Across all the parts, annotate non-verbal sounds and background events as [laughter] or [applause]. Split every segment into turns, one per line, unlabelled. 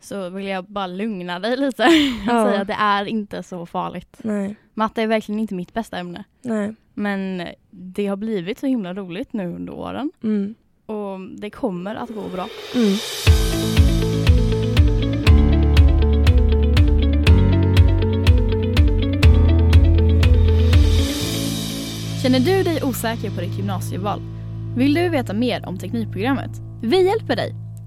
så vill jag bara lugna dig lite och
Ja.
säga att det är inte så farligt.
Nej,
Matte är verkligen inte mitt bästa ämne.
nej.
Men det har blivit så himla roligt nu under åren
Mm.
och det kommer att gå bra.
Mm.
Känner du dig osäker på ditt gymnasieval? Vill du veta mer om Teknikprogrammet? Vi hjälper dig!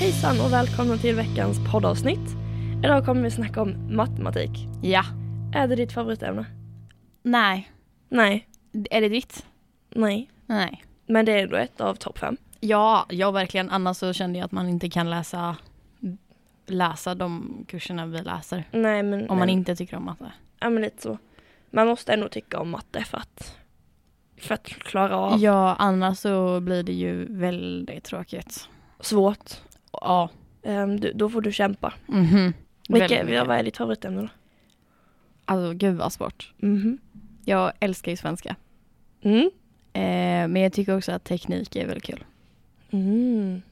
Hejsan och välkomna till veckans poddavsnitt. Idag kommer vi snacka om matematik.
Ja.
Är det ditt favoritämne?
Nej.
Nej,
Är det ditt?
nej.
Nej.
Men det är ändå ett av topp fem.
Ja, jag verkligen. Annars så kände jag att man inte kan läsa, läsa de kurserna vi läser.
Nej, men...
Om man
nej.
inte tycker om matte.
Ja, men lite så. Man måste ändå tycka om matte för att, för att klara av
Ja, annars så blir det ju väldigt tråkigt.
svårt.
Ja.
Ehm, du, då får du kämpa.
Mhm.
Vilka,
Väldigt mycket.
vad är ditt favoritämne då?
Alltså gud vad svårt.
Mhm.
Jag älskar ju svenska.
Mm.
Eh, men jag tycker också att teknik är väldigt kul.
Mm.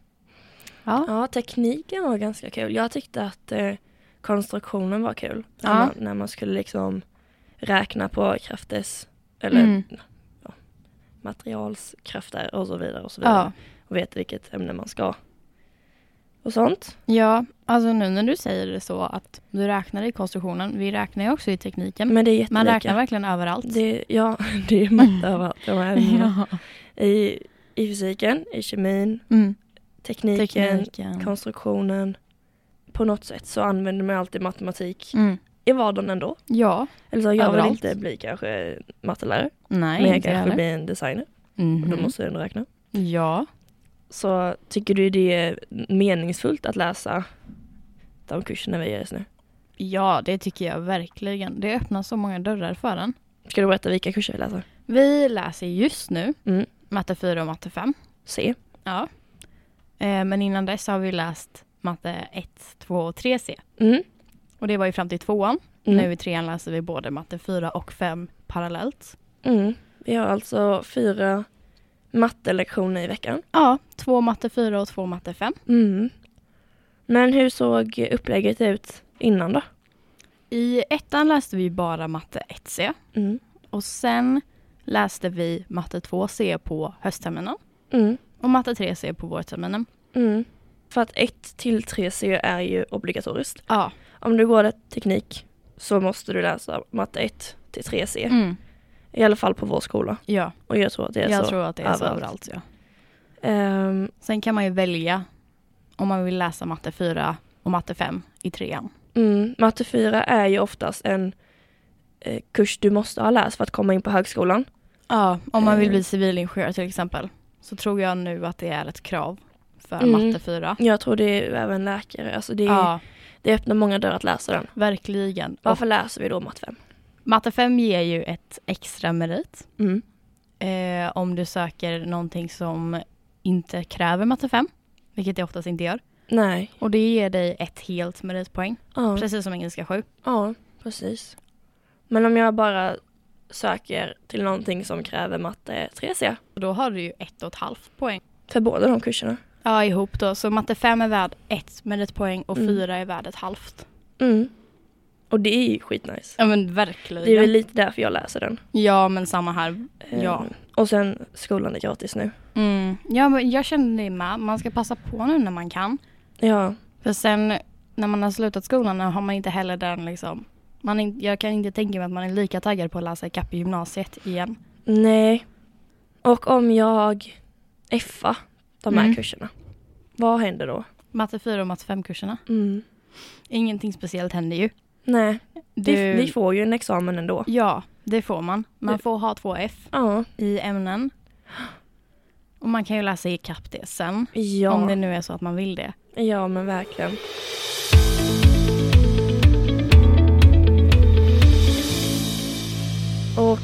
Ja.
Ja, tekniken var ganska kul. Jag tyckte att eh, konstruktionen var kul.
Ja.
När, man, när man skulle liksom räkna på krafters, eller
Mm.
ja, materialskrafter och så vidare och så vidare.
Ja.
Och veta vilket ämne man ska. Och sånt.
ja, alltså nu när du säger det så att du räknar i konstruktionen. Vi räknar ju också i tekniken.
Men det är jättelika.
Man räknar verkligen överallt.
det, Ja, [laughs] det är matte överallt. de här ämnena.
Mm. Ja.
I, I fysiken, i kemin,
Mm.
tekniken,
Tekniken.
konstruktionen. På något sätt så använder man alltid matematik
Mm.
i vardagen ändå.
Ja.
Eller så jag vill
Överallt.
inte bli kanske mattelärare,
Nej,
men jag
inte
kanske
heller.
blir en designer och då
Mhm.
måste jag ändå räkna.
Ja.
Så tycker du det är meningsfullt att läsa de kurserna vi gör just nu?
ja, det tycker jag verkligen. Det öppnar så många dörrar för en.
Ska du berätta vilka kurser vi läser?
Vi läser just nu
Mm.
matte 4 och matte 5.
C.
Ja. Eh, Men innan dess har vi läst matte 1, 2 och 3C.
Mm.
Och det var ju fram till tvåan.
Mm.
Nu i trean läser vi både matte 4 och 5 parallellt.
Mm. Vi har alltså fyra mattelektioner i veckan.
Ja, två matte 4 och två matte 5.
Mm. Men hur såg upplägget ut innan då?
I ettan läste vi bara matte 1C.
Mm.
Och sen läste vi matte 2C på höstterminen
Mm.
och matte 3C på vårterminen.
Mm. För att 1 till 3C är ju obligatoriskt.
Ja.
Om du går ett teknik så måste du läsa matte 1 till 3C.
Mm.
I alla fall på vår skola.
ja.
Och jag tror att det är
Jag
så.
tror att det är så
överallt.
överallt. Ja.
Ehm,
Sen kan man ju välja om man vill läsa matte 4 och matte 5 i trean.
mm, matte 4 är ju oftast en eh, kurs du måste ha läst för att komma in på högskolan.
Ja, om man vill
Eh.
bli civilingenjör till exempel så tror jag nu att det är ett krav för
Mm.
matte 4.
Jag tror det är ju även läkare. Alltså det,
Ja,
det öppnar många dörrar att läsa den.
verkligen. Och
Varför läser vi då matte 5?
matte 5 ger ju ett extra merit eh, om du söker någonting som inte kräver matte 5, vilket det oftast inte gör.
Nej.
Och det ger dig ett helt meritpoäng,
Ja.
precis som engelska 7.
ja, precis. Men om jag bara söker till någonting som kräver matte 3C
Och då har du ju ett och ett halvt poäng.
för båda de kurserna.
Ja, ihop då. Så matte 5 är värd ett meritpoäng och
Mm.
fyra är värd ett halvt.
Mm. Och det är ju skitnice.
Ja, men verkligen.
Det är väl lite därför jag läser den.
Ja, men samma här. Ja.
Ehm, Och sen skolan är gratis nu.
Mm. Ja, men jag känner det med. Man ska passa på nu när man kan.
Ja,
För sen när man har slutat skolan har man inte heller den liksom. Man är, inte- jag kan inte tänka mig att man är lika taggad på att läsa ikapp i gymnasiet igen.
nej. Och om jag Fa de här
Mm.
kurserna, vad händer då?
Matte 4 och matte 5-kurserna. Ingenting speciellt händer ju.
Nej, vi,
Du-
vi får ju en examen ändå.
Ja, det får man. Man
Det-
får ha två F
Ja,
i ämnen. Och man kan ju läsa ikapp det sen.
Ja,
Om det nu är så att man vill det.
ja men verkligen. Och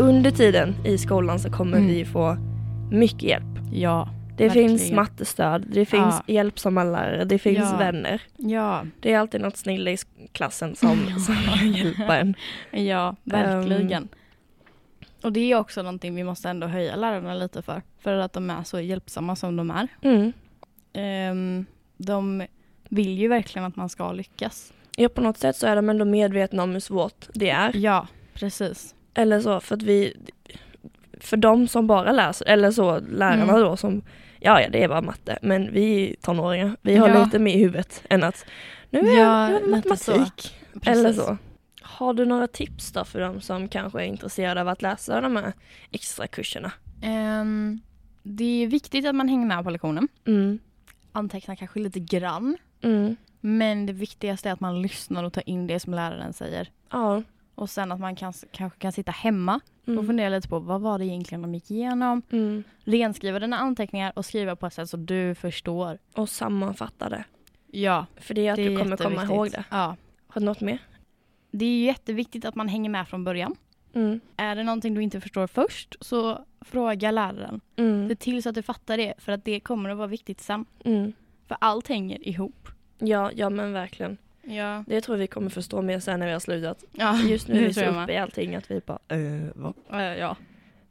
under tiden i skolan så kommer
Mm.
vi få mycket hjälp.
Ja.
Det finns
Verkligen.
mattestöd, det finns
Ja.
hjälpsamma det finns
Ja.
vänner.
Ja.
Det är alltid något snille i klassen
[laughs]
som, som kan hjälpa en.
Ja,
Ehm.
verkligen. och det är också någonting vi måste ändå höja lärarna lite för. För att de är så hjälpsamma som de är.
Mm.
Ehm, de vill ju verkligen att man ska lyckas.
Ja, på något sätt så är de ändå medvetna om hur svårt det är.
Ja, precis.
Eller så, för att vi... För de som bara läser, eller så lärarna
Mm.
då som... Ja, ja, det är bara matte, men vi tonåringar, vi har
Ja.
lite mer i huvudet än att nu är
Ja,
nu är det
lite
matematik.
precis.
Eller så. Har du några tips då för de som kanske är intresserade av att läsa de här extra kurserna?
Ehm, det är viktigt att man hänger med på lektionen.
Mm.
Anteckna kanske lite grann.
Mm.
Men det viktigaste är att man lyssnar och tar in det som läraren säger.
Ja.
Och sen att man kan, kanske kan sitta hemma och
Mm.
fundera lite på vad var det egentligen de gick igenom.
Mm.
Renskriva dina anteckningar och skriva på ett sätt så du förstår.
Och sammanfatta det.
Ja,
För det är att
det är
du kommer komma
jätteviktigt.
ihåg det.
Ja.
Har du något mer?
Det är ju jätteviktigt att man hänger med från början.
Mm.
Är det någonting du inte förstår först så fråga läraren. Se
Mm.
till så att du fattar det för att det kommer att vara viktigt sen.
Mm.
För allt hänger ihop.
Ja, ja men verkligen.
Ja.
Det tror jag vi kommer förstå mer sen när vi har slutat.
ja.
Just [laughs] nu är vi
tror
så
jag
uppe i allting att vi bara eh, vad?
med. Eh, Ja.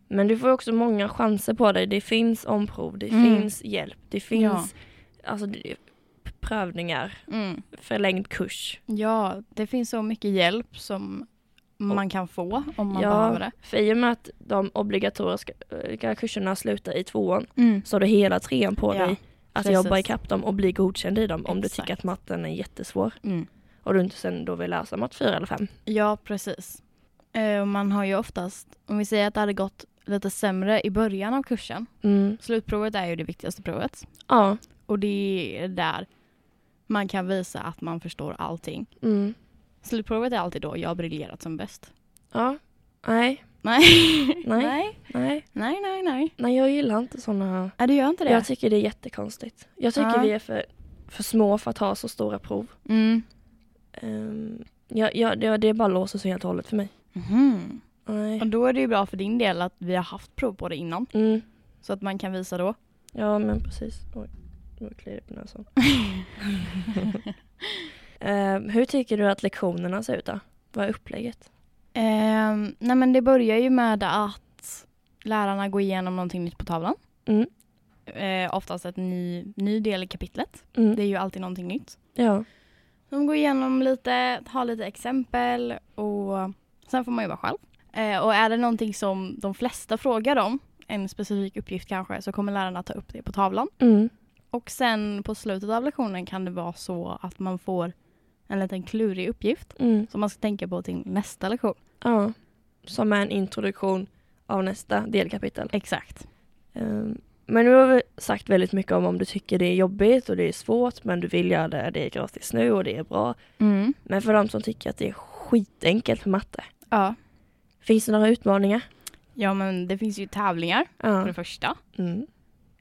Men du får också många chanser på dig. Det finns omprov, det
Mm.
finns hjälp, det finns alltså, det, prövningar,
Mm.
förlängd kurs.
ja, det finns så mycket hjälp som man kan få om man
ja,
behöver det.
för i och med att de obligatoriska eh, kurserna slutar i tvåan så har du hela trean på
Ja,
dig att
precis.
jobba ikapp dem och bli godkänd i dem om du tycker
Exakt.
att matten är jättesvår
Mm.
och du inte sen då vill läsa matte 4 eller 5.
Ja, precis. Eh, och Man har ju oftast, om vi säger att det hade gått lite sämre i början av kursen.
Mm.
Slutprovet är ju det viktigaste provet.
Ja.
Och det är där man kan visa att man förstår allting.
Mm.
Slutprovet är alltid då jag har briljerat som bäst.
Ja. Nej.
Nej.
[laughs] Nej.
nej,
Nej.
nej, nej. nej.
Nej, jag gillar inte sådana.
Nej, det gör inte det.
Jag tycker det är jättekonstigt. Jag tycker
Ja.
vi är för, för små för att ha så stora prov.
Mm.
Um, jag, jag, det, det bara låser sig helt och hållet för mig.
Mhm.
Nej.
Och då är det ju bra för din del att vi har haft prov på det innan.
Mm.
Så att man kan visa då.
Ja, men precis. Oj, nu kliar det på [laughs] näsan. Ehm, hur tycker du att lektionerna ser ut då? Vad är upplägget?
Ehm, nej men det börjar ju med att lärarna går igenom någonting nytt på tavlan.
Mm.
Eh, oftast ett ny, ny del i kapitlet.
Mm.
Det är ju alltid någonting nytt.
Ja.
De går igenom lite, har lite exempel och sen får man ju vara själv. Eh, och är det någonting som de flesta frågar om, en specifik uppgift kanske, så kommer lärarna ta upp det på tavlan.
Mm.
Och sen på slutet av lektionen kan det vara så att man får en liten klurig uppgift
Mm.
som man ska tänka på till nästa lektion.
Ja. Som är en introduktion av nästa delkapitel.
Exakt.
Ehm, Men nu har vi sagt väldigt mycket om om du tycker det är jobbigt och det är svårt men du vill göra det, det är gratis nu och det är bra.
Mm.
Men för de som tycker att det är skitenkelt med matte,
Ja.
finns det några utmaningar?
ja, men det finns ju tävlingar för
Ja.
det första.
Mm.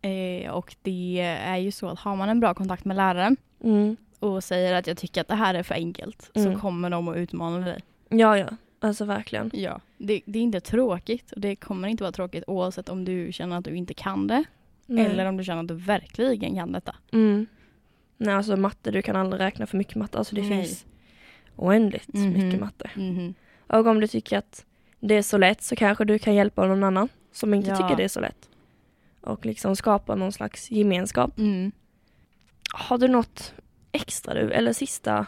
Eh, och det är ju så att har man en bra kontakt med läraren
Mm.
och säger att jag tycker att det här är för enkelt
Mm.
så kommer de att utmana dig.
Ja, ja, alltså verkligen.
Ja. Det, det är inte tråkigt och det kommer inte vara tråkigt oavsett om du känner att du inte kan det
Nej.
eller om du känner att du verkligen kan detta.
Mm. Nej, alltså matte, du kan aldrig räkna för mycket matte. Alltså det
Nej.
finns oändligt
Mhm.
mycket matte.
Mhm.
Och om du tycker att det är så lätt så kanske du kan hjälpa någon annan som inte
Ja.
tycker det är så lätt. Och liksom skapa någon slags gemenskap.
Mm.
Har du något extra du, eller sista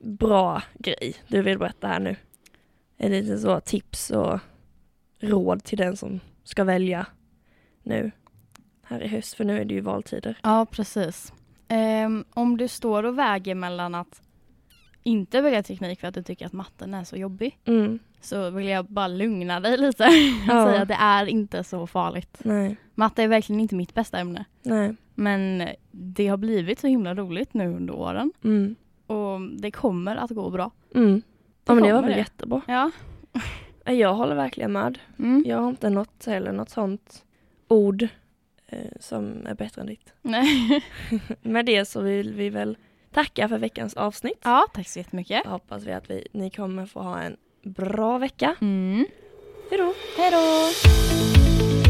bra grej du vill berätta här nu? Är det lite så tips och råd till den som ska välja nu här i höst? För nu är det ju valtider.
Ja, precis. Ehm, om du står och väger mellan att inte välja teknik för att du tycker att matten är så jobbig
Mm.
så vill jag bara lugna dig lite och
Ja.
säga att det är inte så farligt.
Nej,
Matte är verkligen inte mitt bästa ämne
nej.
men det har blivit så himla roligt nu under åren
Mm.
och det kommer att gå bra.
Mm. Ja men det var
kommer
väl
det.
jättebra.
Ja.
Jag håller verkligen med.
Mm.
Jag har inte något heller något sånt ord eh, som är bättre än ditt.
Nej.
[laughs] Med det så vill vi väl tacka för veckans avsnitt.
Ja, tack så jättemycket.
Hoppas vi att vi, ni kommer få ha en bra vecka.
Mm.
Hej då!
Hej då!